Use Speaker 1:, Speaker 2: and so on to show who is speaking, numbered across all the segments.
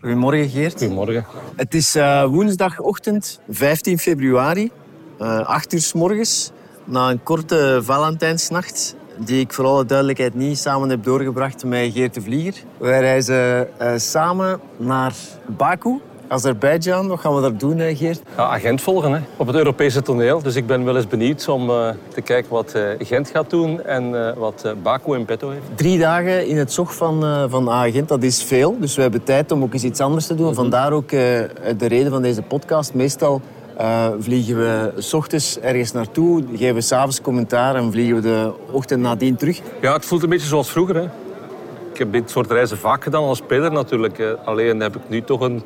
Speaker 1: Goedemorgen Geert.
Speaker 2: Goedemorgen.
Speaker 1: Het is eh, woensdagochtend 15 februari, eh 8 uur s morgens, na een korte Valentijnsnacht, die ik voor alle duidelijkheid niet samen heb doorgebracht met Geert de Vlieger. Wij reizen eh, samen naar Baku, Azerbeidzjan. Wat gaan we daar doen, hè, Geert?
Speaker 2: Ja, agent volgen hè, op het Europese toneel. Dus ik ben wel eens benieuwd om eh, te kijken wat eh, Gent gaat doen en eh, wat eh, Baku in petto heeft.
Speaker 1: Drie dagen in het zog van, eh van Agent, dat is veel. Dus we hebben tijd om ook eens iets anders te doen. Vandaar ook eh, de reden van deze podcast. Meestal eh, vliegen we s ochtends ergens naartoe, geven we s'avonds commentaar en vliegen we de ochtend nadien terug.
Speaker 2: Ja, het voelt een beetje zoals vroeger. Hè. Ik heb dit soort reizen vaak gedaan als speler natuurlijk. eh, alleen heb ik nu toch een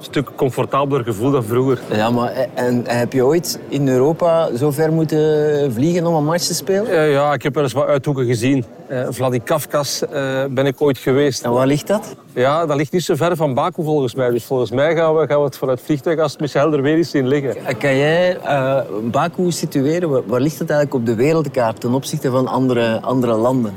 Speaker 2: stuk comfortabeler gevoel dan vroeger.
Speaker 1: Ja, maar eh, en heb je ooit in Europa zo ver moeten vliegen om een match te spelen?
Speaker 2: Eh, ja, ik heb wel eens wat uithoeken gezien. Eh Vladikavkaz eh, ben ik ooit geweest.
Speaker 1: En waar ligt dat?
Speaker 2: Ja, dat ligt niet zo ver van Baku volgens mij. Dus volgens mij gaan we, gaan we het vanuit het vliegtuig als het misschien helder weer is zien liggen.
Speaker 1: Eh, Kan jij eh, Baku situeren? Waar, waar ligt het eigenlijk op de wereldkaart ten opzichte van andere, andere landen?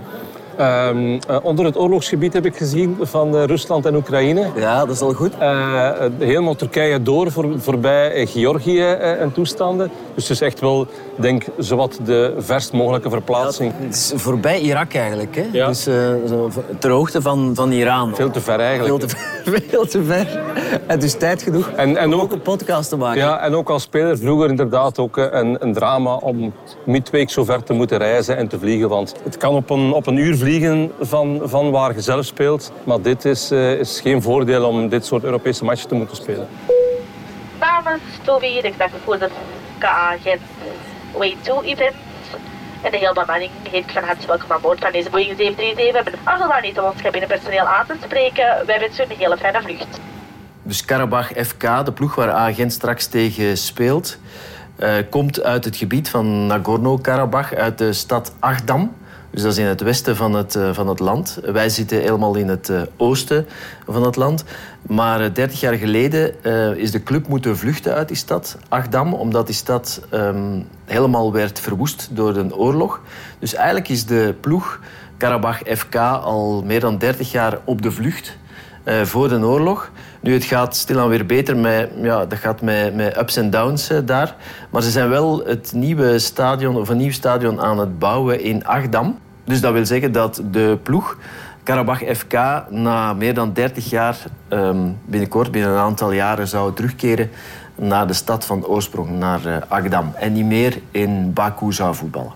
Speaker 2: Ehm, eh, onder het oorlogsgebied heb ik gezien van eh, Rusland en Oekraïne.
Speaker 1: Ja, dat is al goed.
Speaker 2: Eh, eh, helemaal Turkije door, voor, voorbij eh, Georgië eh, en toestanden. Dus het is echt wel, denk zowat de verst mogelijke verplaatsing.
Speaker 1: Het is voorbij Irak eigenlijk, hè?
Speaker 2: Ja.
Speaker 1: Dus eh, zo v- ter hoogte van, van Iran.
Speaker 2: Veel te ver
Speaker 1: Veel
Speaker 2: eigenlijk.
Speaker 1: te ver. Veel te ver. En dus tijd genoeg
Speaker 2: En, en,
Speaker 1: om ook
Speaker 2: ook,
Speaker 1: een podcast te maken.
Speaker 2: ja, en ook als speler vroeger inderdaad ook eh, een, een drama om midweek zo ver te moeten reizen en te vliegen. Want het kan op een, op een uur vliegen van, van waar je zelf speelt. Maar dit is, eh, is geen voordeel om dit soort Europese matchen te moeten spelen.
Speaker 3: namens Toby, de gedachtevoerder KA-agent Way 2 Event. En de hele bemanning heet van harte welkom aan boord van deze Boeing 737. Afgeladen niet om ons cabinepersoneel aan te spreken, wij wensen u een hele fijne vlucht.
Speaker 1: Dus Karabach FK, de ploeg waar Agent straks tegen speelt, eh, komt uit het gebied van Nagorno-Karabach, uit de stad Agdam. Dus dat is in het westen van het, eh, van het land. Wij zitten helemaal in het eh, oosten van het land. Maar eh, 30 jaar geleden eh, is de club moeten vluchten uit die stad, Agdam, omdat die stad ehm, helemaal werd verwoest door een oorlog. Dus eigenlijk is de ploeg Karabach FK al meer dan 30 jaar op de vlucht eh, voor de oorlog. Nu, het gaat stilaan weer beter. Met, ja, dat gaat met, met ups en downs eh, daar. Maar ze zijn wel het nieuwe stadion, of een nieuw stadion aan het bouwen in Agdam. Dus dat wil zeggen dat de ploeg Karabach FK na meer dan 30 jaar, ehm, binnenkort, binnen een aantal jaren, zou terugkeren naar de stad van oorsprong, naar eh, Agdam. En niet meer in Baku zou voetballen.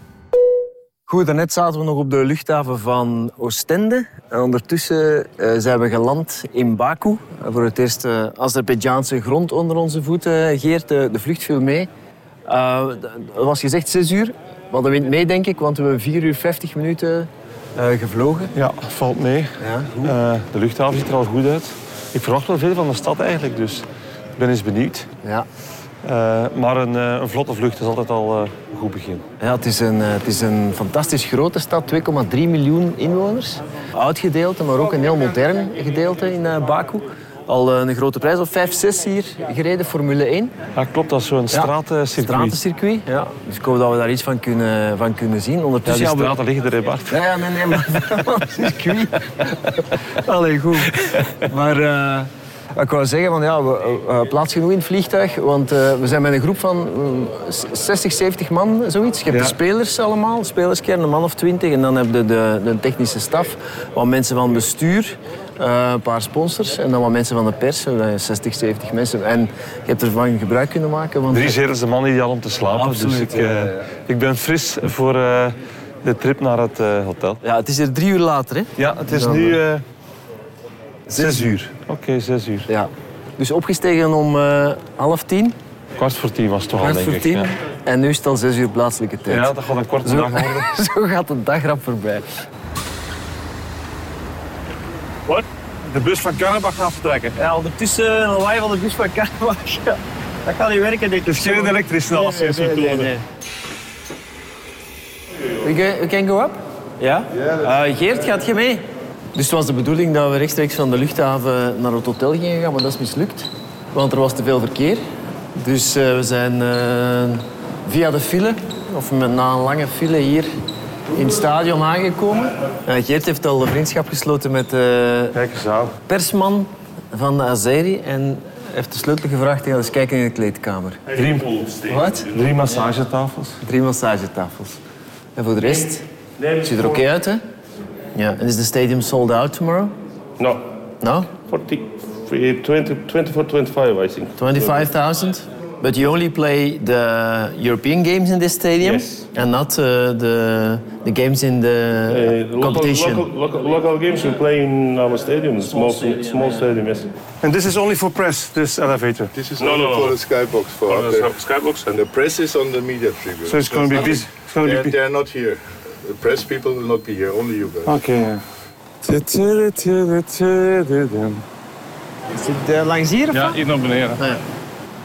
Speaker 1: Goed, daarnet zaten we nog op de luchthaven van Oostende. En ondertussen eh, zijn we geland in Baku. Eh, Voor het eerst eh Azerbeidjaanse grond onder onze voeten. Eh, Geert, de, de vlucht viel mee. Eh, d- Er was gezegd 6 uur, maar de wind mee denk ik, want we hebben 4 uur 50 minuten eh, gevlogen.
Speaker 4: Ja, valt mee.
Speaker 1: Ja,
Speaker 4: Eh, de luchthaven ziet er al goed uit. Ik verwacht wel veel van de stad eigenlijk, dus ik ben eens benieuwd.
Speaker 1: Ja.
Speaker 4: Eh, maar een, eh, een vlotte vlucht is altijd al eh, een goed begin.
Speaker 1: Ja, het, is een, eh, het is een fantastisch grote stad, 2,3 miljoen inwoners. Oud gedeelte, maar ook een heel modern gedeelte in eh, Baku. Al eh, een grote prijs of 5, 6 hier gereden, Formule 1.
Speaker 4: Ja, klopt, dat is zo'n straatcircuit.
Speaker 1: stratencircuit. Ja. Dus ik hoop dat we daar iets van kunnen, van kunnen zien.
Speaker 4: Ja,
Speaker 1: Ondertussen
Speaker 4: die
Speaker 1: ja, we-
Speaker 4: straten liggen er, hè, Bart.
Speaker 1: Ja, ja, nee, nee, maar van het circuit. Allee, goed. Maar eh, wat ik wou zeggen, van, ja, we, eh, eh, plaats genoeg in het vliegtuig. Want eh, we zijn met een groep van mm, s- 60, 70 man, zoiets. Je hebt
Speaker 4: Ja.
Speaker 1: de spelers allemaal, spelerskern, een man of 20. En dan heb je de, de technische staf, wat mensen van bestuur. eh, een paar sponsors en dan wat mensen van de pers, eh, 60, 70 mensen. En je hebt ervan gebruik kunnen maken. Want
Speaker 4: Drie zeer is de man ideaal om te slapen. dus
Speaker 1: Absoluut,
Speaker 4: ik, eh, ik ben fris voor eh, de trip naar het eh, hotel.
Speaker 1: Ja, het is hier drie uur later, hè?
Speaker 4: Ja, het is
Speaker 1: Dan,
Speaker 4: nu
Speaker 1: eh,
Speaker 4: eh, zes uur. Oké, zes uur.
Speaker 1: Ja. Dus opgestegen om eh, half tien,
Speaker 4: Kwart voor tien was het toch al,
Speaker 1: kwart
Speaker 4: denk
Speaker 1: voor
Speaker 4: ik.
Speaker 1: tien.
Speaker 4: Ja.
Speaker 1: En nu is het al zes uur plaatselijke tijd.
Speaker 4: ja, dat gaat een korte dag worden.
Speaker 1: Zo gaat de dag rap voorbij.
Speaker 4: De bus van Karabach gaat vertrekken.
Speaker 1: Ja, ondertussen een lawaai van de bus van Karabach. Dat gaat niet werken, dus. denk ik.
Speaker 4: Geen elektrische
Speaker 1: We can, we can go up? Ja? Eh, Geert, gaat je mee? Dus het was de bedoeling dat we rechtstreeks van de luchthaven naar het hotel gingen gaan, maar dat is mislukt. Want er was te veel verkeer. Dus eh, we zijn eh, via de file, of met, na een lange file hier in het stadion aangekomen. Eh, Geert heeft al een vriendschap gesloten met eh,
Speaker 4: Kijk eens aan.
Speaker 1: persman
Speaker 5: van de Azeri en heeft de sleutel gevraagd. Hij gaat eens kijken in de kleedkamer.
Speaker 4: Drie,
Speaker 5: Wat?
Speaker 4: drie massagetafels.
Speaker 5: Drie massagetafels. En voor de rest, het ziet er oké uit, hè?
Speaker 1: Ja.
Speaker 5: En is de stadium sold out tomorrow?
Speaker 6: No, eh,
Speaker 5: No?
Speaker 6: 40, 20, 20 for 25, I think.
Speaker 1: 25,000? But you only play the European games in this stadium
Speaker 6: Yes.
Speaker 1: and not uh, the, the games in
Speaker 6: Uh,
Speaker 1: the
Speaker 6: local,
Speaker 1: competition.
Speaker 6: local, local, local games we play in our stadium, small, small, stadium, yes.
Speaker 4: En this is only for press, this elevator.
Speaker 7: This is
Speaker 6: No,
Speaker 7: only
Speaker 6: no,
Speaker 7: for
Speaker 6: no.
Speaker 7: the skybox for
Speaker 6: Oh,
Speaker 7: the,
Speaker 6: Skybox and
Speaker 7: the press is on the media tribune.
Speaker 4: So it's going to be busy. It's going to
Speaker 7: They're,
Speaker 4: be busy.
Speaker 7: they're not here. The press people will not be here. Only you guys.
Speaker 4: Oké.
Speaker 5: Zit het langs hier of
Speaker 2: Ja, hier naar beneden.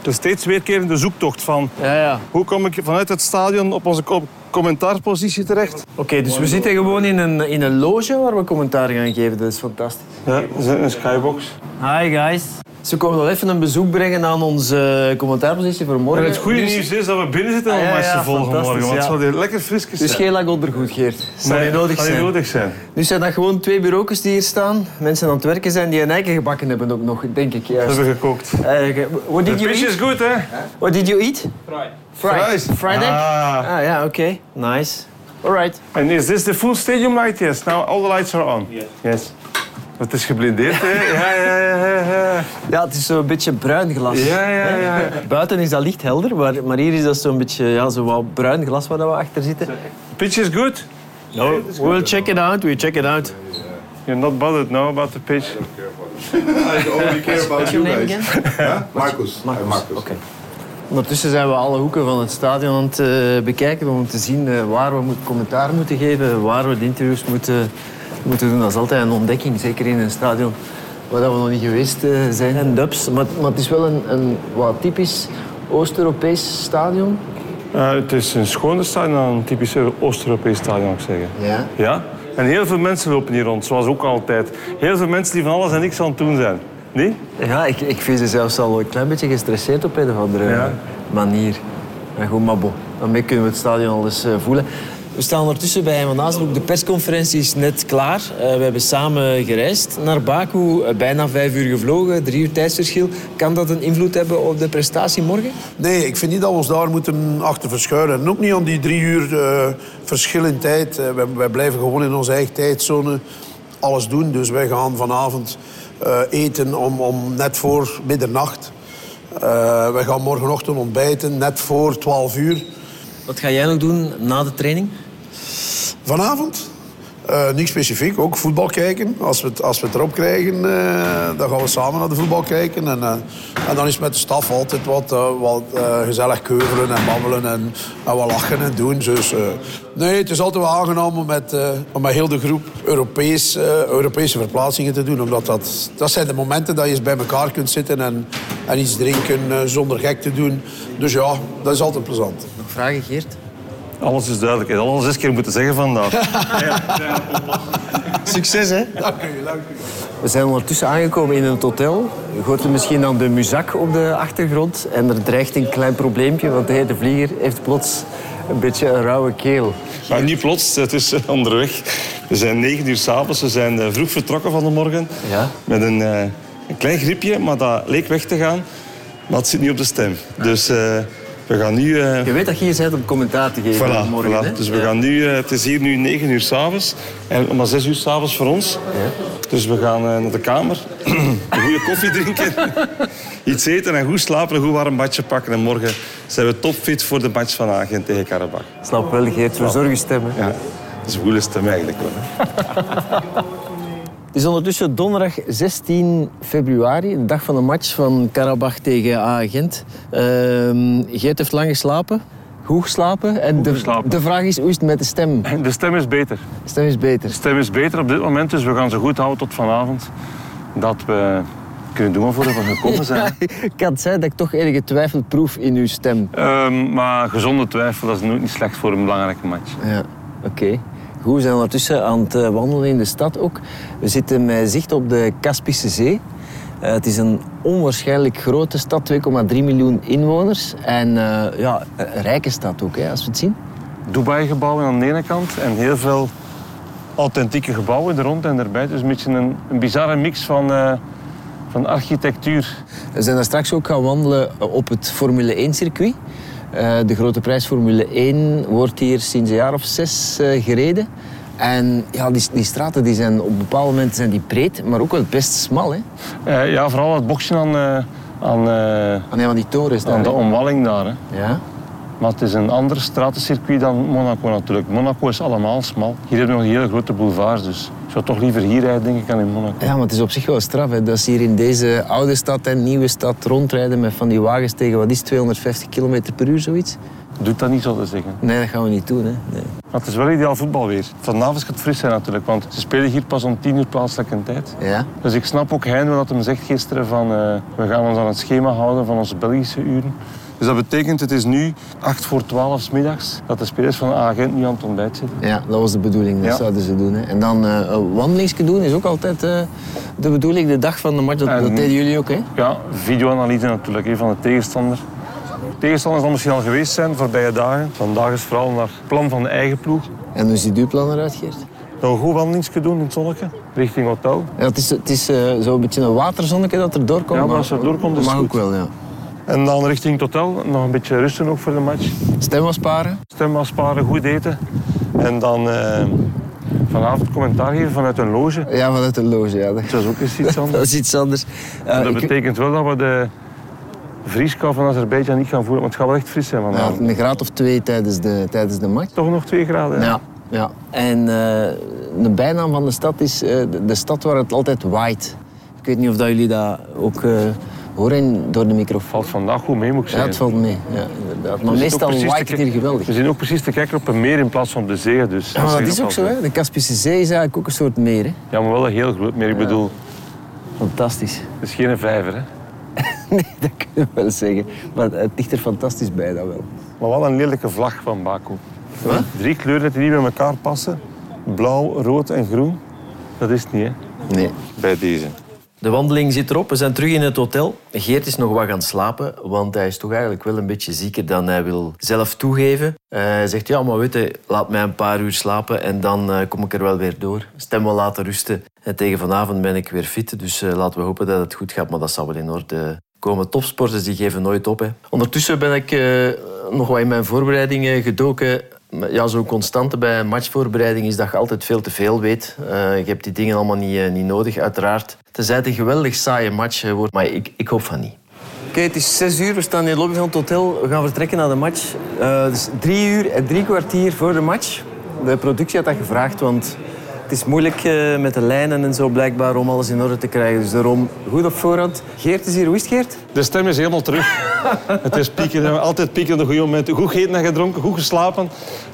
Speaker 4: De steeds weerkerende zoektocht van
Speaker 5: Ja, ja.
Speaker 4: hoe kom ik vanuit het stadion op onze co- commentaarpositie terecht.
Speaker 5: Oké, dus we zitten gewoon in een, in een loge waar we commentaar gaan geven. Dat is fantastisch.
Speaker 4: Ja, is een skybox.
Speaker 5: Hi, guys. Ze komen al even een bezoek brengen aan onze eh, commentaarpositie voor morgen.
Speaker 4: En het goede
Speaker 5: dus,
Speaker 4: nieuws is dat we binnen zitten om
Speaker 5: Ah, ja,
Speaker 4: match
Speaker 5: ja,
Speaker 4: te volgen
Speaker 5: fantastisch,
Speaker 4: morgen. Want het
Speaker 5: ja.
Speaker 4: zal hier lekker frisjes
Speaker 5: Dus
Speaker 4: zijn.
Speaker 5: geen lagodbergoed, Geert. Zal
Speaker 4: Nee,
Speaker 5: niet nodig
Speaker 4: zal niet
Speaker 5: zijn.
Speaker 4: nodig zijn.
Speaker 5: Nu zijn dat gewoon twee bureaukes die hier staan. Mensen aan het werken zijn die hun eigen gebakken hebben ook nog, denk ik.
Speaker 4: We
Speaker 5: Juist.
Speaker 4: hebben gekookt.
Speaker 5: Eh, what did you
Speaker 4: Pitch is
Speaker 5: eat?
Speaker 4: goed, hè?
Speaker 5: What did you eat? Fried.
Speaker 4: Fries.
Speaker 5: Friday?
Speaker 4: Ah.
Speaker 5: Ah ja, oké. Nice. Alright.
Speaker 4: And is this the full stadium light? Yes. Now all the lights are on. Yes. Het is geblindeerd, hè? Ja, ja, ja, ja, ja.
Speaker 5: Ja, het is zo'n beetje bruin glas.
Speaker 4: Ja, ja, ja. ja.
Speaker 5: Buiten is dat licht helder, maar, maar hier is dat zo'n beetje ja, zo wat bruin glas waar dat we achter zitten.
Speaker 4: Pitch is good.
Speaker 1: No, we'll check it out. We'll check it out.
Speaker 4: You're not bothered now about the pitch.
Speaker 7: I only care about you
Speaker 5: name
Speaker 7: guys. Huh? Marcus. Uh, Marcus.
Speaker 5: Oké. Ondertussen zijn we alle hoeken van het stadion aan het eh, bekijken om te zien eh, waar we moet, commentaar moeten geven, waar we de interviews moeten, moeten doen. Dat is altijd een ontdekking, zeker in een stadion waar dat we nog niet geweest eh, zijn. En dubs, maar, maar het is wel een, een wat typisch Oost-Europees stadion.
Speaker 4: Eh, het is een schoner stadion dan een typisch Oost-Europees stadion, zou ik zeggen.
Speaker 5: Ja.
Speaker 4: Ja? En heel veel mensen lopen hier rond, zoals ook altijd. Heel veel mensen die van alles en niks aan het doen zijn. Nee?
Speaker 5: Ja, ik, ik vind ze zelfs al een klein beetje gestresseerd op een of andere
Speaker 4: Ja.
Speaker 5: manier. Maar goed, maar bon, daarmee kunnen we het stadion al eens eh, voelen. We staan ondertussen bij Herman Azenbroek. De persconferentie is net klaar. Eh, we hebben samen gereisd naar Baku. Eh, bijna vijf uur gevlogen, drie uur tijdsverschil. Kan dat een invloed hebben op de prestatie morgen?
Speaker 8: Nee, ik vind niet dat we ons daar moeten achter verschuilen. En ook niet aan die drie uur eh, verschil in tijd. Eh, wij, wij blijven gewoon in onze eigen tijdzone alles doen. Dus wij gaan vanavond eh, eten om, om net voor middernacht. Eh, wij gaan morgenochtend ontbijten net voor 12 uur.
Speaker 5: Wat ga jij nog doen na de training?
Speaker 8: Vanavond? Eh niks specifiek, ook voetbal kijken. Als we het, als we het erop krijgen, eh, dan gaan we samen naar de voetbal kijken. En, eh, en dan is het met de staf altijd wat, eh, wat eh, gezellig keuvelen en babbelen en, en wat lachen en doen. Dus, eh, nee, het is altijd wel aangenaam om met, eh, om met heel de groep Europees, eh, Europese verplaatsingen te doen. Omdat dat, dat zijn de momenten dat je eens bij elkaar kunt zitten en, en iets drinken eh, zonder gek te doen. Dus ja, dat is altijd plezant.
Speaker 5: Nog vragen, Geert?
Speaker 4: Alles is duidelijk. Ik heb alles zes keer moeten zeggen vandaag.
Speaker 5: Succes, hè?
Speaker 8: Dank u, dank u.
Speaker 5: We zijn ondertussen aangekomen in het hotel. Je hoort er misschien dan de muzak op de achtergrond. En er dreigt een klein probleempje, want hey, de vlieger heeft plots een beetje een rauwe keel.
Speaker 4: Maar niet plots, het is eh, onderweg. We zijn negen uur s'avonds, we zijn eh, vroeg vertrokken van de morgen.
Speaker 5: Ja.
Speaker 4: Met een, eh, een klein griepje, maar dat leek weg te gaan. Maar het zit niet op de stem. Dus eh, we gaan nu... eh,
Speaker 5: Je weet dat je hier bent om commentaar te geven
Speaker 4: Voilà,
Speaker 5: morgen.
Speaker 4: voilà.
Speaker 5: hè?
Speaker 4: Dus we gaan nu, eh, het is hier nu 9 uur s'avonds, en maar 6 uur s'avonds voor ons. Dus we gaan eh, naar de kamer, een goede koffie drinken, iets eten en goed slapen, een goed warm badje pakken. En morgen zijn we topfit voor de match van Agen tegen Karabach.
Speaker 5: Snap wel, Geert, we zorgen stemmen.
Speaker 4: Ja, dat is een goede stem eigenlijk wel. hè.
Speaker 5: Het is ondertussen donderdag 16 februari, de dag van de match van Karabach tegen A-Gent. Ehm, Geert heeft lang geslapen, goed geslapen. En de,
Speaker 4: geslapen.
Speaker 5: de vraag is, hoe is het met de stem?
Speaker 4: De stem is beter.
Speaker 5: De stem is beter.
Speaker 4: De stem is beter op dit moment, dus we gaan ze goed houden tot vanavond. Dat we kunnen doen waarvoor we gekomen zijn.
Speaker 5: Ik had zei dat ik toch enige twijfel proef in uw stem.
Speaker 4: Ehm, maar gezonde twijfel, dat is nooit niet slecht voor een belangrijke match.
Speaker 5: Ja, oké. Goed, we zijn ondertussen aan het eh, wandelen in de stad ook. We zitten met zicht op de Kaspische Zee. Eh, het is een onwaarschijnlijk grote stad, 2,3 miljoen inwoners. En eh, ja, een rijke stad ook, hè, als we het zien.
Speaker 4: Dubai-gebouwen aan de ene kant en heel veel authentieke gebouwen er rond en erbij. Dus een beetje een, een bizarre mix van, eh,
Speaker 2: van architectuur.
Speaker 5: We zijn daar straks ook gaan wandelen eh, op het Formule 1-circuit. de grote prijs Formule 1 wordt hier sinds een jaar of zes eh, gereden. En ja, die, die straten die zijn op bepaalde momenten zijn die breed, maar ook wel best smal. Hè?
Speaker 2: Eh, ja, vooral het bochtje aan, eh, aan, eh,
Speaker 5: Aan een van Ah, die torens daar.
Speaker 2: aan de
Speaker 5: hè.
Speaker 2: omwalling daar. Hè.
Speaker 5: Ja.
Speaker 2: Maar het is een ander stratencircuit dan Monaco natuurlijk. Monaco is allemaal smal. Hier hebben we nog hele grote boulevards, dus ik zou toch liever hier rijden denk ik dan in Monaco.
Speaker 5: ja, maar het is op zich wel straf. Hè. Dat ze hier in deze oude stad en nieuwe stad rondrijden met van die wagens tegen, wat is het, 250 km per uur, zoiets?
Speaker 2: Doet dat niet zo te zeggen.
Speaker 5: Nee, dat gaan we niet doen. Hè. Nee.
Speaker 2: Maar het is wel ideaal voetbal weer. Vanavond gaat het fris zijn natuurlijk, want ze spelen hier pas om tien uur plaatselijke tijd.
Speaker 5: Ja.
Speaker 2: Dus ik snap ook Hein wat hem zegt gisteren van eh, we gaan ons aan het schema houden van onze Belgische uren. Dus dat betekent, het is nu 8 voor 12 's middags dat de spelers van de agent nu aan het ontbijt zitten.
Speaker 5: Ja, dat was de bedoeling. Dat
Speaker 2: Ja.
Speaker 5: zouden ze doen. Hè. En dan eh een wandelingsje doen is ook altijd eh, de bedoeling. De dag van de match, dat,
Speaker 2: En-
Speaker 5: dat deden jullie ook. Hè?
Speaker 2: Ja, videoanalyse natuurlijk hè, van de tegenstander. Tegenstanders zal misschien al geweest zijn de voorbije dagen. Vandaag is vooral naar het plan van de eigen ploeg.
Speaker 5: En hoe ziet uw plan eruit, Geert?
Speaker 2: Dat we goed wandelingsje doen in het zonnetje, richting hotel.
Speaker 5: Ja, het is, het is eh, zo'n beetje een waterzonnetje dat er doorkomt.
Speaker 2: Ja, maar als er doorkomt, is
Speaker 5: mag
Speaker 2: het
Speaker 5: ook
Speaker 2: goed.
Speaker 5: wel, ja.
Speaker 2: En dan richting het hotel, nog een beetje rusten ook voor de match.
Speaker 5: Stem was paren.
Speaker 2: Stem afsparen, goed eten. En dan eh, vanavond commentaar geven vanuit een loge.
Speaker 5: Ja, vanuit de loge. Ja. Dat,
Speaker 2: Dat is ook eens iets
Speaker 5: dat
Speaker 2: anders.
Speaker 5: is iets anders. Ja,
Speaker 2: dat
Speaker 5: ik-
Speaker 2: betekent wel dat we de vrieskou van Azerbeidzjan niet gaan voelen, want het gaat wel echt fris zijn
Speaker 5: ja,
Speaker 2: vanavond.
Speaker 5: een graad of twee tijdens de, tijdens de match.
Speaker 2: Toch nog 2 graden. hè?
Speaker 5: Ja. ja. En eh de bijnaam van de stad is eh, de, de stad waar het altijd waait. Ik weet niet of dat jullie dat ook eh, horen door de microfoon.
Speaker 2: Valt vandaag goed mee, moet ik
Speaker 5: Ja,
Speaker 2: zeggen.
Speaker 5: het valt mee. Ja, inderdaad. Maar
Speaker 2: We zitten Dus ook
Speaker 5: meestal
Speaker 2: precies
Speaker 5: waait
Speaker 2: te
Speaker 5: het
Speaker 2: kijk-
Speaker 5: hier geweldig.
Speaker 2: We zien ook precies te kijken op een meer in plaats van op de zee. Dus
Speaker 5: Ja, maar dat
Speaker 2: zegt
Speaker 5: is ook zo,
Speaker 2: wel
Speaker 5: hè? De Kaspische Zee is eigenlijk ook een soort meer. Hè?
Speaker 2: veel. Ja, maar wel een heel groot meer. Ik bedoel,
Speaker 5: Fantastisch.
Speaker 2: het is geen vijver. Hè.
Speaker 5: Nee, dat kunnen we wel zeggen. Maar eh, het ligt er fantastisch bij, dat wel.
Speaker 2: Maar wel een lelijke vlag van Baku. Drie kleuren die niet bij elkaar passen. Blauw, rood en groen. Dat is het niet, hè?
Speaker 5: Nee.
Speaker 2: Bij deze.
Speaker 1: De wandeling zit erop. We zijn terug in het hotel. Geert is nog wat gaan slapen, want hij is toch eigenlijk wel een beetje zieker dan hij wil zelf toegeven. Eh, hij zegt, ja, maar weet je, laat mij een paar uur slapen en dan eh, kom ik er wel weer door. Stem wel laten rusten. En tegen vanavond ben ik weer fit, dus eh, laten we hopen dat het goed gaat. Maar dat zal wel in orde komen. Topsporters die geven nooit op. Hè. Ondertussen ben ik eh, nog wat in mijn voorbereidingen gedoken. Ja, zo'n constante bij een matchvoorbereiding is dat je altijd veel te veel weet. Eh, je hebt die dingen allemaal niet, eh, niet nodig, uiteraard. Tenzij het een geweldig saaie match eh, wordt, maar ik, ik hoop van niet.
Speaker 5: Oké, het is zes uur. We staan in de lobby van het hotel. We gaan vertrekken naar de match. Eh dus drie uur en drie kwartier voor de match. De productie had dat gevraagd, want het is moeilijk eh, met de lijnen en zo blijkbaar om alles in orde te krijgen. Dus daarom goed op voorhand. Geert is hier. Hoe is het, Geert?
Speaker 2: De stem is helemaal terug. het is pieken. hè. Altijd pieken op de goede momenten. Goed gegeten en gedronken, goed geslapen.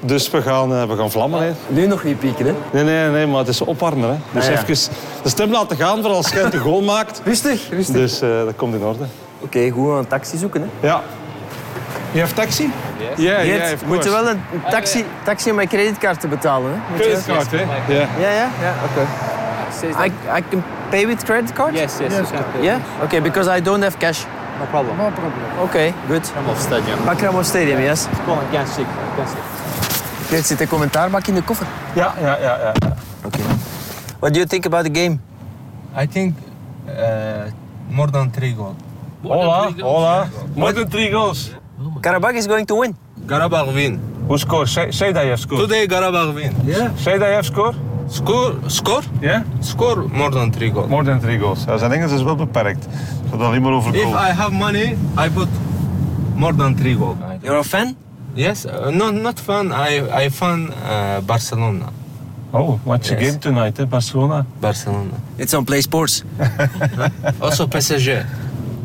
Speaker 2: Dus we gaan, eh, we gaan vlammen, hè.
Speaker 5: Nu nog niet pieken, hè?
Speaker 2: Nee, nee, nee, maar het is opwarmen, hè. Dus
Speaker 5: Ah, ja.
Speaker 2: even de stem laten gaan voor als jij de goal maakt.
Speaker 5: Rustig, rustig.
Speaker 2: Dus eh, dat komt in orde.
Speaker 5: Oké, goed aan een taxi zoeken, hè?
Speaker 2: Ja. Je hebt taxi? Ja, ja.
Speaker 5: Geert, moet je wel een taxi, taxi om mijn creditcard te betalen, hè? Moet je-
Speaker 2: Creditcard, hè? Ja.
Speaker 5: Ja, ja, ja, oké. I, I can pay with credit card? Yes, yes, Yeah? Okay, because I don't have cash.
Speaker 9: No problem. No
Speaker 5: Okay, good.
Speaker 9: problem. Stadium.
Speaker 5: Bakramov Stadium, yes.
Speaker 9: Come against it. Against it.
Speaker 5: Dit zit een commentaarbak in de koffer.
Speaker 2: Ja, ja, ja. ja.
Speaker 5: Okay. What do you think about the game?
Speaker 9: I think uh, more than three goals.
Speaker 2: Hola, hola. More than three goals.
Speaker 5: Karabakh is going to win.
Speaker 9: Garabag win.
Speaker 2: Who scored? Say, say that you have scored.
Speaker 9: Today Garabag win. Yeah.
Speaker 2: Say that you have scored?
Speaker 9: Score, score,
Speaker 2: Yeah?
Speaker 9: score more than three goals.
Speaker 2: More than three goals. Ja, zijn Engels is wel beperkt. Het gaat alleen maar over
Speaker 9: If
Speaker 2: goals.
Speaker 9: I have money, I put more than three goals.
Speaker 5: You're a fan?
Speaker 9: Yes, uh, no, not fun. I I fan uh, Barcelona.
Speaker 2: Oh, watch the
Speaker 9: Yes.
Speaker 2: game tonight, hè? Barcelona.
Speaker 9: Barcelona.
Speaker 5: It's on Play Sports.
Speaker 9: Also PSG.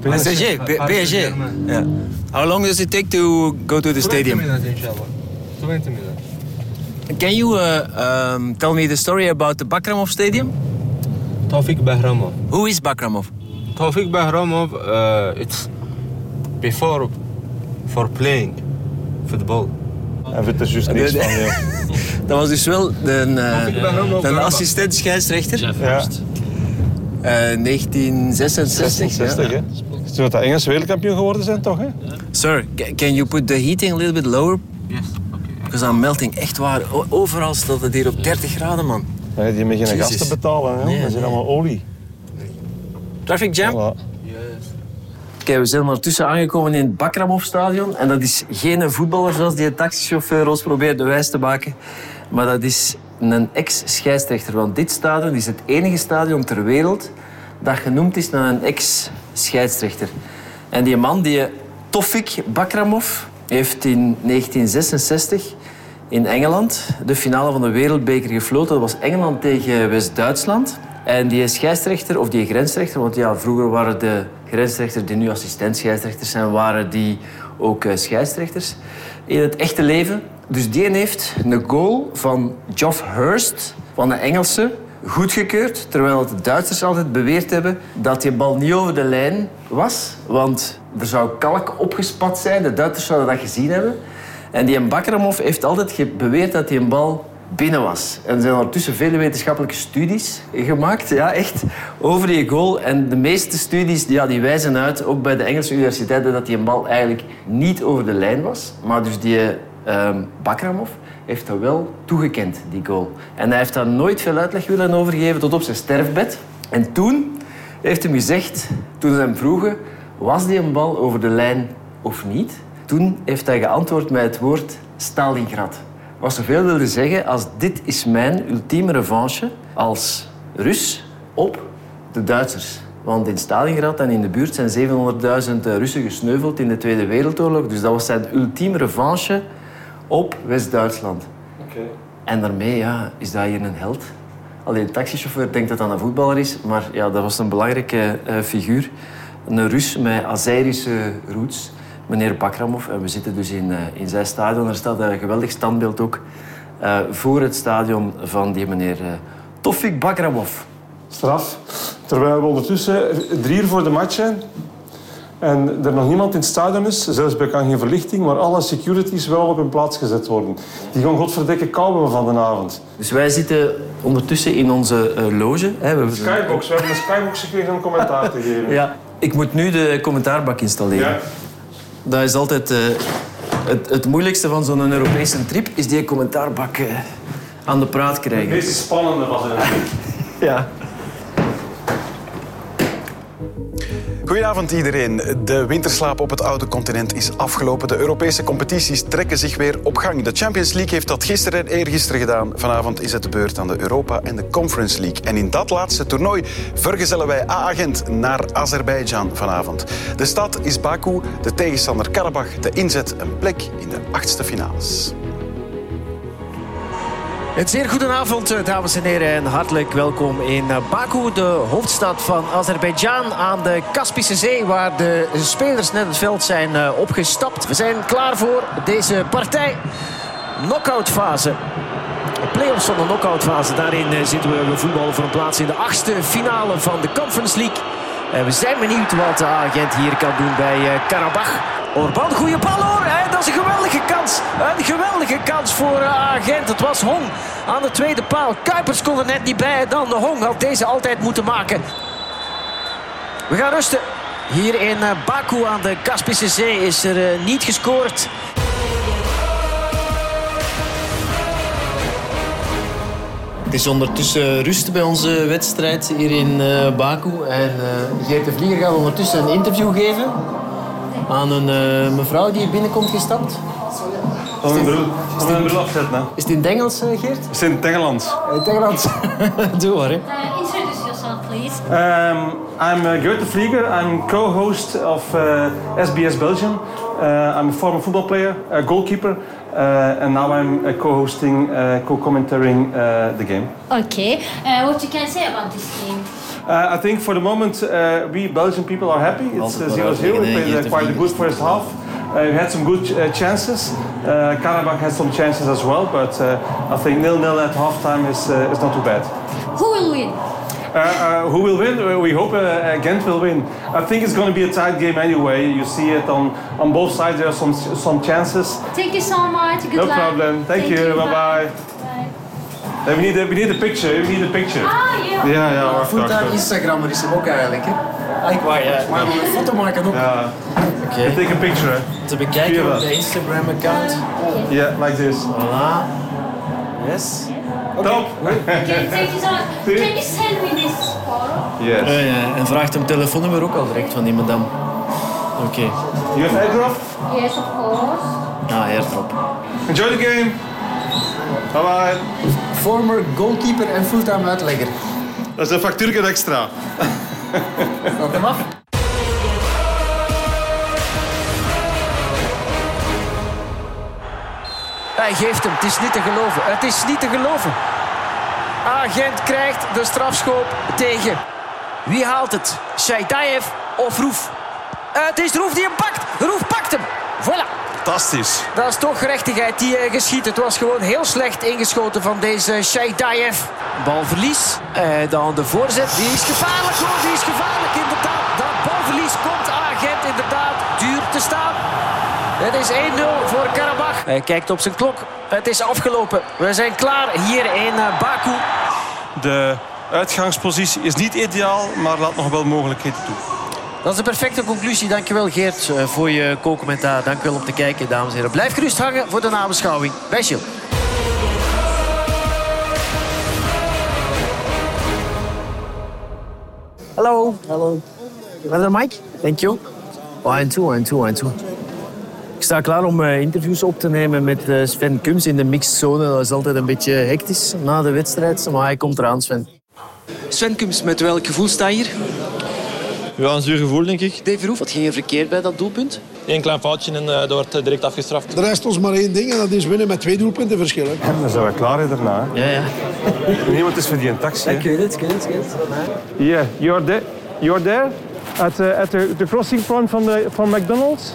Speaker 5: PSG, P- PSG. Yeah. How long does it take to go to the stadium?
Speaker 9: minutes, inshallah. 20 minutes.
Speaker 5: Can you uh, um, tell me the story about the Bakramov Stadium?
Speaker 9: Tawfiq Bahramov.
Speaker 5: Who is Bakramov?
Speaker 9: Tawfiq Bahramov, uh, it's before for playing football.
Speaker 2: En vindt er juist niks van, ja.
Speaker 5: Dat was dus wel een,
Speaker 9: ik ben helemaal
Speaker 5: een
Speaker 9: Karabach.
Speaker 5: assistent scheidsrechter.
Speaker 2: ja.
Speaker 5: Eh, 1966.
Speaker 2: 66, hè? Ze dat Engels wereldkampioen geworden zijn, toch, hè?
Speaker 5: ja. Sir, ca- can you put the heating a little bit lower?
Speaker 9: Yes. Okay.
Speaker 5: Because I'm melting. Echt waar. O- Overal staat het hier op 30 graden, man.
Speaker 2: Nee, die hebben geen
Speaker 5: Jezus.
Speaker 2: gasten betalen, hè?
Speaker 5: Nee,
Speaker 2: dat zijn
Speaker 5: nee.
Speaker 2: allemaal olie.
Speaker 5: Traffic jam?
Speaker 2: Voilà.
Speaker 1: Kijk, we zijn ondertussen aangekomen in het Bakramov-stadion. En dat is geen voetballer zoals die taxichauffeur ons probeert wijs te maken. Maar dat is een ex-scheidsrechter. Want dit stadion is het enige stadion ter wereld dat genoemd is naar een ex-scheidsrechter. En die man, die Tofik Bakramov, heeft in 1966 in Engeland de finale van de wereldbeker gefloten. Dat was Engeland tegen West-Duitsland. En die scheidsrechter, of die grensrechter, want ja, vroeger waren de grensrechters die nu assistent scheidsrechters zijn, waren die ook eh, scheidsrechters in het echte leven. Dus die heeft een goal van Geoff Hurst, van de Engelse, goedgekeurd. Terwijl de Duitsers altijd beweerd hebben dat die bal niet over de lijn was. Want er zou kalk opgespat zijn. De Duitsers zouden dat gezien hebben. En die Bakramov heeft altijd ge- beweerd dat die een bal binnen was. En er zijn ondertussen vele wetenschappelijke studies gemaakt, ja, echt, over die goal. En de meeste studies ja, die wijzen uit, ook bij de Engelse universiteiten, dat die een bal eigenlijk niet over de lijn was. Maar dus die ehm Bakramov heeft dat wel toegekend, die goal. En hij heeft daar nooit veel uitleg willen over geven, tot op zijn sterfbed. En toen heeft hem gezegd, toen ze hem vroegen, was die een bal over de lijn of niet? Toen heeft hij geantwoord met het woord Stalingrad. Wat zoveel wilde zeggen als dit is mijn ultieme revanche als Rus op de Duitsers. Want in Stalingrad en in de buurt zijn 700.000 Russen gesneuveld in de Tweede Wereldoorlog. Dus dat was zijn ultieme revanche op West-Duitsland. En daarmee ja, is dat hier een held. Alleen de taxichauffeur denkt dat dat een voetballer is, maar ja, dat was een belangrijke eh, figuur. Een Rus met Azerische roots, meneer Bakramov. En we zitten dus in, eh, in zijn stadion. Er staat een geweldig standbeeld ook eh, voor het stadion van die meneer eh, Tofik Bakramov.
Speaker 4: Straf. Terwijl we ondertussen drie uur voor de match zijn en er nog niemand in het stadion is, zelfs bij kan geen verlichting, maar alle securities wel op hun plaats gezet worden. Die gaan godverdikke kouwen van de avond.
Speaker 1: Dus wij zitten ondertussen in onze eh, loge. Hè. We-
Speaker 4: Skybox, we hebben een skybox gekregen om commentaar te geven.
Speaker 1: Ja, ik moet nu de commentaarbak installeren.
Speaker 4: Ja.
Speaker 1: Dat is altijd eh, het, het moeilijkste van zo'n Europese trip, is die commentaarbak eh, aan de praat
Speaker 4: Het
Speaker 1: krijgen.
Speaker 4: meest spannende was eigenlijk.
Speaker 1: Ja.
Speaker 10: Goedenavond iedereen. De winterslaap op het oude continent is afgelopen. De Europese competities trekken zich weer op gang. De Champions League heeft dat gisteren en eergisteren gedaan. Vanavond is het de beurt aan de Europa en de Conference League. En in dat laatste toernooi vergezellen wij A-agent naar Azerbeidzjan vanavond. De stad is Baku, de tegenstander Karabach, de inzet een plek in de achtste finales.
Speaker 5: Een zeer goedenavond, eh, dames en heren, en hartelijk welkom in eh, Baku, de hoofdstad van Azerbeidzjan, aan de Kaspische Zee, waar de spelers net het veld zijn eh, opgestapt. We zijn klaar voor deze partij. Knockoutfase. Playoffs van de knockoutfase. Daarin eh, zitten we, we voetballen voor een plaats in de achtste finale van de Conference League. En we zijn benieuwd wat de agent hier kan doen bij eh, Karabach. Orban, goede bal hoor. hè. dat is een geweldige kans. Een geweldige kans voor eh, agent. Het was Hong aan de tweede paal. Kuipers kon er net niet bij. Dan de Hong had deze altijd moeten maken. We gaan rusten. Hier in eh, Baku aan de Kaspische Zee is er eh, niet gescoord.
Speaker 1: Het is ondertussen rust bij onze wedstrijd hier in eh, Baku. En eh, Geert de Vlieger gaat ondertussen een interview geven aan een eh, mevrouw die hier binnenkomt gestapt.
Speaker 4: Van mijn bril, van mijn bril afzetten. hè.
Speaker 1: Is het in het Engels, eh, Geert?
Speaker 4: We zijn in het Engeland.
Speaker 1: In het Engels. Doe maar, hè.
Speaker 11: Uh, introduce yourself, please.
Speaker 4: Um, I'm uh, Goethe Vlieger. I'm co-host of uh, SBS Belgium. Uh, I'm a former football player, a goalkeeper, uh, and now I'm uh, co-hosting, uh, co-commentating uh, the game.
Speaker 11: Okay. Uh, what you can say about this game?
Speaker 4: Uh, I think for the moment uh, we Belgian people are happy. It's uh, 0 0. We played uh, quite a good first half. Uh, we had some good uh, chances. Uh, Karabakh had some chances as well, but uh, I think nil nil at halftime is, uh, is not too bad.
Speaker 11: Who will win?
Speaker 4: Uh, uh, who will win? Uh, We hope uh, Ghent will win. I think it's going to be a tight game anyway. You see it on, on both sides. There are some some chances.
Speaker 11: Thank you so much. Good
Speaker 4: no
Speaker 11: luck.
Speaker 4: problem. Thank, you. Bye bye.
Speaker 11: Bye.
Speaker 4: we need a, we need a picture. We need a picture.
Speaker 11: Ah, yeah.
Speaker 4: Ja, ja, wacht, wacht, wacht.
Speaker 1: Instagrammer is hem ook eigenlijk, hè? Eigenlijk waar, Ah, ja. Maar een foto maken ook.
Speaker 4: Ja.
Speaker 1: Oké.
Speaker 4: Take a picture. eh?
Speaker 1: Te bekijken
Speaker 4: Via
Speaker 1: op de Instagram-account.
Speaker 4: Yeah, like this.
Speaker 1: Voilà. Yes.
Speaker 4: Top.
Speaker 11: Okay, thank you so much.
Speaker 4: See?
Speaker 11: Can you send me this photo?
Speaker 1: Yes. Eh, ja. En vraagt hem telefoonnummer ook al direct van die madame. Oké.
Speaker 2: You have airdrop?
Speaker 12: Yes, of course.
Speaker 13: Nou,
Speaker 1: Ah, airdrop.
Speaker 2: Enjoy the game. Bye bye.
Speaker 13: Former goalkeeper en fulltime uitlegger.
Speaker 2: Dat is een factuurke extra.
Speaker 13: Staat hem af?
Speaker 5: Hij geeft hem. Het is niet te geloven. Het is niet te geloven. Agent krijgt de strafschop tegen. Wie haalt het? Saidaev of Roef? Het is Roef die hem pakt. Roef pakt hem. Voilà.
Speaker 14: Fantastisch.
Speaker 5: Dat is toch gerechtigheid die eh, geschiet. Het was gewoon heel slecht ingeschoten van deze Shaidaev. Balverlies. Eh, dan de voorzet. Die is gevaarlijk hoor. Die is gevaarlijk inderdaad. Dat balverlies komt agent inderdaad duur te staan. Het is 1-0 voor Karabach. Hij kijkt op zijn klok. Het is afgelopen. We zijn klaar hier in eh, Baku.
Speaker 2: De uitgangspositie is niet ideaal, maar laat nog wel mogelijkheden toe.
Speaker 1: Dat is de perfecte conclusie. Dankjewel Geert eh, voor je co-commentaar. Dankjewel om te kijken, dames en heren. Blijf gerust hangen voor de nabeschouwing. Bij Gilles.
Speaker 13: Hello. Hello. Verder, eh, Mike? Oh, Thank you. One, two, one, two, one, two. Ik sta klaar om eh, interviews op te nemen met eh, Sven Kums in de mixzone. Dat is altijd een beetje hectisch na de wedstrijd, maar hij komt eraan, Sven.
Speaker 15: Sven Kums, met welk gevoel sta je hier?
Speaker 16: Ja, een zuur gevoel, denk ik.
Speaker 15: Dave Roef, wat ging er verkeerd bij dat doelpunt?
Speaker 16: Eén klein foutje en eh, dat wordt eh, direct afgestraft.
Speaker 8: Er rest ons maar één ding en dat is winnen met twee doelpunten verschil. hè.
Speaker 2: Dan zijn we klaar hè, daarna.
Speaker 1: Ja, ja.
Speaker 2: Niemand is voor die een taxi. hè.
Speaker 13: weet het, ik weet het, ik weet
Speaker 4: Yeah, you're there. You're there at, uh, at the, the crossing point van, de, van McDonald's.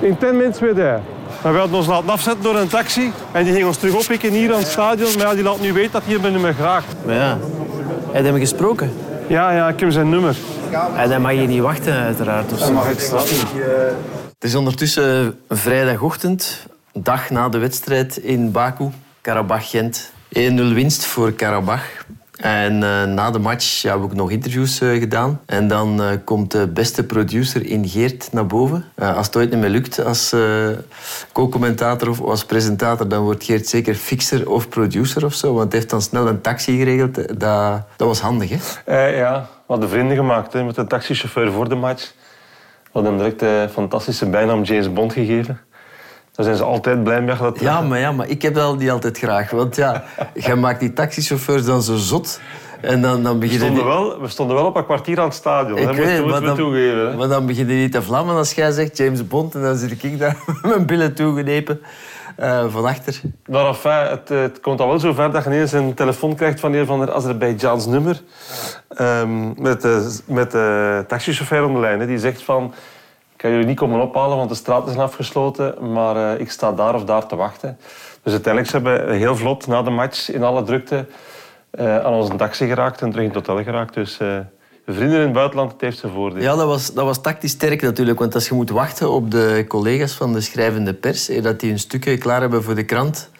Speaker 4: In 10 minutes weer daar.
Speaker 2: Maar we hadden ons laten afzetten door een taxi. En die ging ons terug oppikken hier aan het stadion. Maar ja, die laat nu weten dat hier mijn nummer graag.
Speaker 1: Ja. Heb je hem gesproken?
Speaker 2: Ja, ja, ik heb zijn nummer.
Speaker 1: En dan mag je niet wachten, uiteraard. Of zo. Het is ondertussen vrijdagochtend, dag na de wedstrijd in Baku, Karabach-Gent. 1-0 winst voor Karabach. En eh, na de match hebben we ook nog interviews eh, gedaan. En dan eh, komt de beste producer in Geert naar boven. Eh, als het ooit niet meer lukt als eh, co-commentator of als presentator, dan wordt Geert zeker fixer of producer of zo. Want hij heeft dan snel een taxi geregeld. Dat, dat was handig, hè?
Speaker 6: Eh, ja,
Speaker 2: We hadden vrienden gemaakt hè, met een taxichauffeur voor de match. We hadden hem direct de fantastische bijnaam James Bond gegeven. Daar zijn ze altijd blij mee. Dat...
Speaker 1: Ja maar, ja, maar ik heb dat niet altijd graag. Want ja, jij maakt die taxichauffeurs dan zo zot. En dan, dan
Speaker 2: We,
Speaker 1: beginnen
Speaker 2: stonden
Speaker 1: die-
Speaker 2: wel, we stonden wel op een kwartier aan het stadion.
Speaker 1: Ik
Speaker 2: hè,
Speaker 1: weet,
Speaker 2: moeten we-
Speaker 1: maar
Speaker 2: moeten we
Speaker 1: dan,
Speaker 2: toegeven. hè.
Speaker 1: maar dan begin je niet te vlammen als jij zegt James Bond. En dan zit ik daar met mijn billen toegenepen eh van achter.
Speaker 2: Maar enfin, het, eh, het komt al wel zo ver dat je ineens een telefoon krijgt van een van de Azerbeidjaans nummer. Ehm, met, de, met de taxichauffeur aan de lijn. hè, die zegt van, ik kan jullie niet komen ophalen, want de straat is afgesloten. Maar eh, ik sta daar of daar te wachten. Dus uiteindelijk zijn we heel vlot na de match in alle drukte eh, aan onze taxi geraakt en terug in het hotel geraakt. Dus eh, vrienden in het buitenland, het heeft zijn voordeel.
Speaker 1: Ja, dat was, dat was tactisch sterk natuurlijk. Want als je moet wachten op de collega's van de schrijvende pers... eh, dat die hun stukken klaar hebben voor de krant...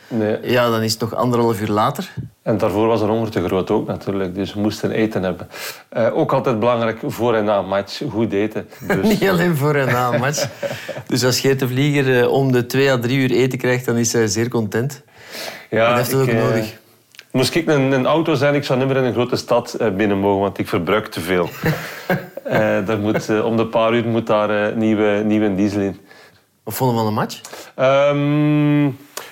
Speaker 1: Ja, dan is het nog anderhalf uur later.
Speaker 2: En daarvoor was de honger te groot ook natuurlijk, dus we moesten eten hebben. Eh, ook altijd belangrijk voor en na match, goed eten. Dus-
Speaker 1: Niet alleen voor en na een match. Dus als Geert de Vlieger eh, om de twee à drie uur eten krijgt, dan is hij zeer content.
Speaker 2: Ja,
Speaker 1: dat heeft het ook
Speaker 2: ik, eh,
Speaker 1: nodig.
Speaker 2: Moest ik een, een auto zijn, ik zou niet meer in een grote stad eh, binnen mogen, want ik verbruik te veel. Eh, daar moet, eh, om de paar uur moet daar eh, nieuwe, nieuwe diesel in.
Speaker 1: Wat vonden we van de match?
Speaker 2: Ehm,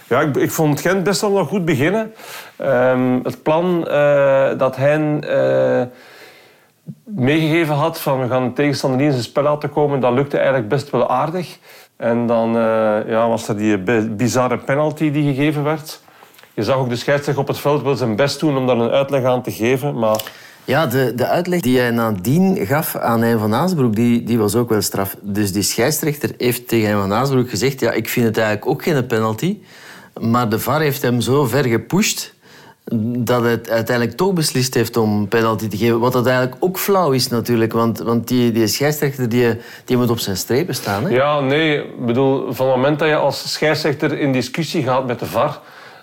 Speaker 2: ja, ik, ik vond Gent best wel nog goed beginnen. Ehm, het plan eh, dat Hein eh, meegegeven had van we gaan de tegenstander niet in zijn spel laten komen, dat lukte eigenlijk best wel aardig. En dan eh, ja, was er die bi- bizarre penalty die gegeven werd. Je zag ook de scheidsrechter op het veld wel zijn best doen om daar een uitleg aan te geven, maar...
Speaker 1: Ja, de, de uitleg die hij nadien gaf aan Hein van Aasbroek, die, die was ook wel straf. Dus die scheidsrechter heeft tegen Hein van Aasbroek gezegd... ja, ik vind het eigenlijk ook geen penalty. Maar de VAR heeft hem zo ver gepusht... dat het uiteindelijk toch beslist heeft om penalty te geven. Wat dat eigenlijk ook flauw is natuurlijk. Want, want die, die scheidsrechter die, die moet op zijn strepen staan. Hè?
Speaker 2: Ja, nee. Ik bedoel, van het moment dat je als scheidsrechter in discussie gaat met de VAR,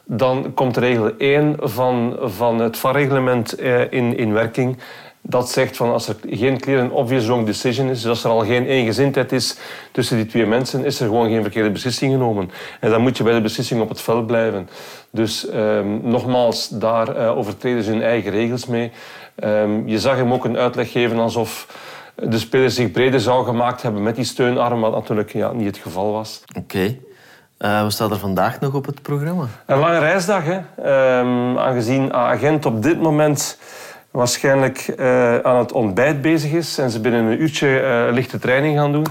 Speaker 2: dan komt regel 1 van, van het VAR-reglement eh, in, in werking. dat zegt van als er geen clear and obvious wrong decision is, dus als er al geen eengezindheid is tussen die twee mensen, is er gewoon geen verkeerde beslissing genomen. En dan moet je bij de beslissing op het veld blijven. Dus ehm, nogmaals, daar eh, overtreden ze hun eigen regels mee. Ehm, je zag hem ook een uitleg geven alsof de speler zich breder zou gemaakt hebben met die steunarm, wat natuurlijk ja, niet het geval was.
Speaker 1: Oké. Eh, wat staat er vandaag nog op het programma?
Speaker 2: Een lange reisdag, hè? Ehm, aangezien agent op dit moment waarschijnlijk eh, aan het ontbijt bezig is en ze binnen een uurtje eh, lichte training gaan doen,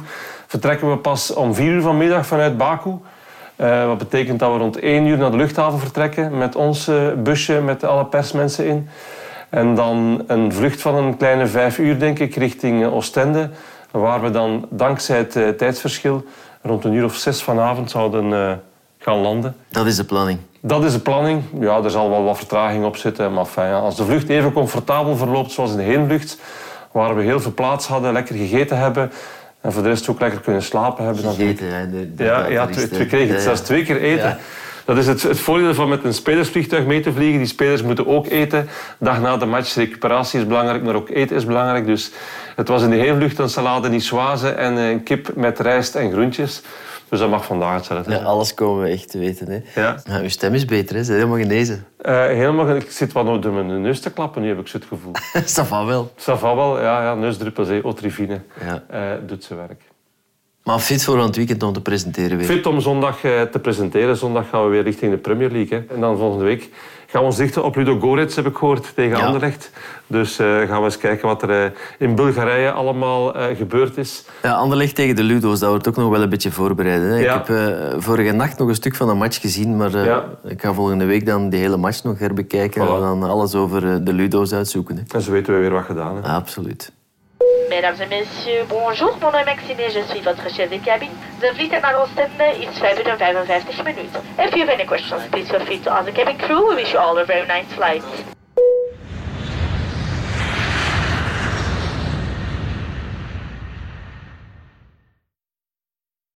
Speaker 2: vertrekken we pas om vier uur vanmiddag vanuit Baku. Eh, wat betekent dat we rond één uur naar de luchthaven vertrekken met ons eh, busje met alle persmensen in. En dan een vlucht van een kleine vijf uur, denk ik, richting eh, Oostende. Waar we dan dankzij het eh, tijdsverschil rond een uur of zes vanavond zouden eh, gaan landen.
Speaker 1: Dat is de planning.
Speaker 2: Dat is de planning. Ja, er zal wel wat vertraging op zitten. Maar fijn, ja, als de vlucht even comfortabel verloopt zoals in de heenvlucht, waar we heel veel plaats hadden, lekker gegeten hebben en voor de rest ook lekker kunnen slapen hebben. dan vind ik-
Speaker 1: Eten, hè, de- de-
Speaker 2: ja, ja
Speaker 1: dat is
Speaker 2: twee-
Speaker 1: de-
Speaker 2: twee- we kregen het
Speaker 1: ja,
Speaker 2: zelfs
Speaker 1: ja.
Speaker 2: twee keer eten.
Speaker 1: Ja.
Speaker 2: Dat is het, het voordeel van met een spelersvliegtuig mee te vliegen. Die spelers moeten ook eten. Dag na de match, recuperatie is belangrijk, maar ook eten is belangrijk. Dus het was in de heenvlucht een salade niçoise en een kip met rijst en groentjes. Dus dat mag vandaag hetzelfde
Speaker 1: Ja,
Speaker 2: zijn.
Speaker 1: alles komen we echt te weten. Hè.
Speaker 2: Ja.
Speaker 1: Maar uw stem is beter, hè? Ze zijn helemaal genezen.
Speaker 2: Eh, helemaal, ik zit wat door mijn neus te klappen, nu heb ik zo het gevoel.
Speaker 1: Safa wel.
Speaker 2: Safa wel, ja, ja neusdruppels, hè, otrivine, Eh, doet zijn werk.
Speaker 1: Maar fit voor aan het weekend om te presenteren weer.
Speaker 2: Fit om zondag eh, te presenteren. Zondag gaan we weer richting de Premier League. Hè. En dan volgende week gaan we ons richten op Ludo Goretz, heb ik gehoord, tegen Anderlecht. Dus eh, gaan we eens kijken wat er eh, in Bulgarije allemaal eh, gebeurd is.
Speaker 1: Ja, Anderlecht tegen de Ludo's, dat wordt ook nog wel een beetje voorbereiden. Hè.
Speaker 2: Ja.
Speaker 1: Ik heb eh, vorige nacht nog een stuk van de match gezien, maar eh,
Speaker 2: Ja.
Speaker 1: ik ga volgende week dan die hele match nog herbekijken
Speaker 2: Voilà.
Speaker 1: en dan alles over eh, de Ludo's uitzoeken. Hè.
Speaker 2: En zo weten we weer wat gedaan. Hè.
Speaker 1: Absoluut.
Speaker 3: Mesdames et messieurs, bonjour, mon nom est Maxime et je suis votre chef de cabine. The fleet at Narostende is 5 uur en 55 minuten. If you have any questions, please feel free to ask the cabin crew. We wish you all a very nice flight.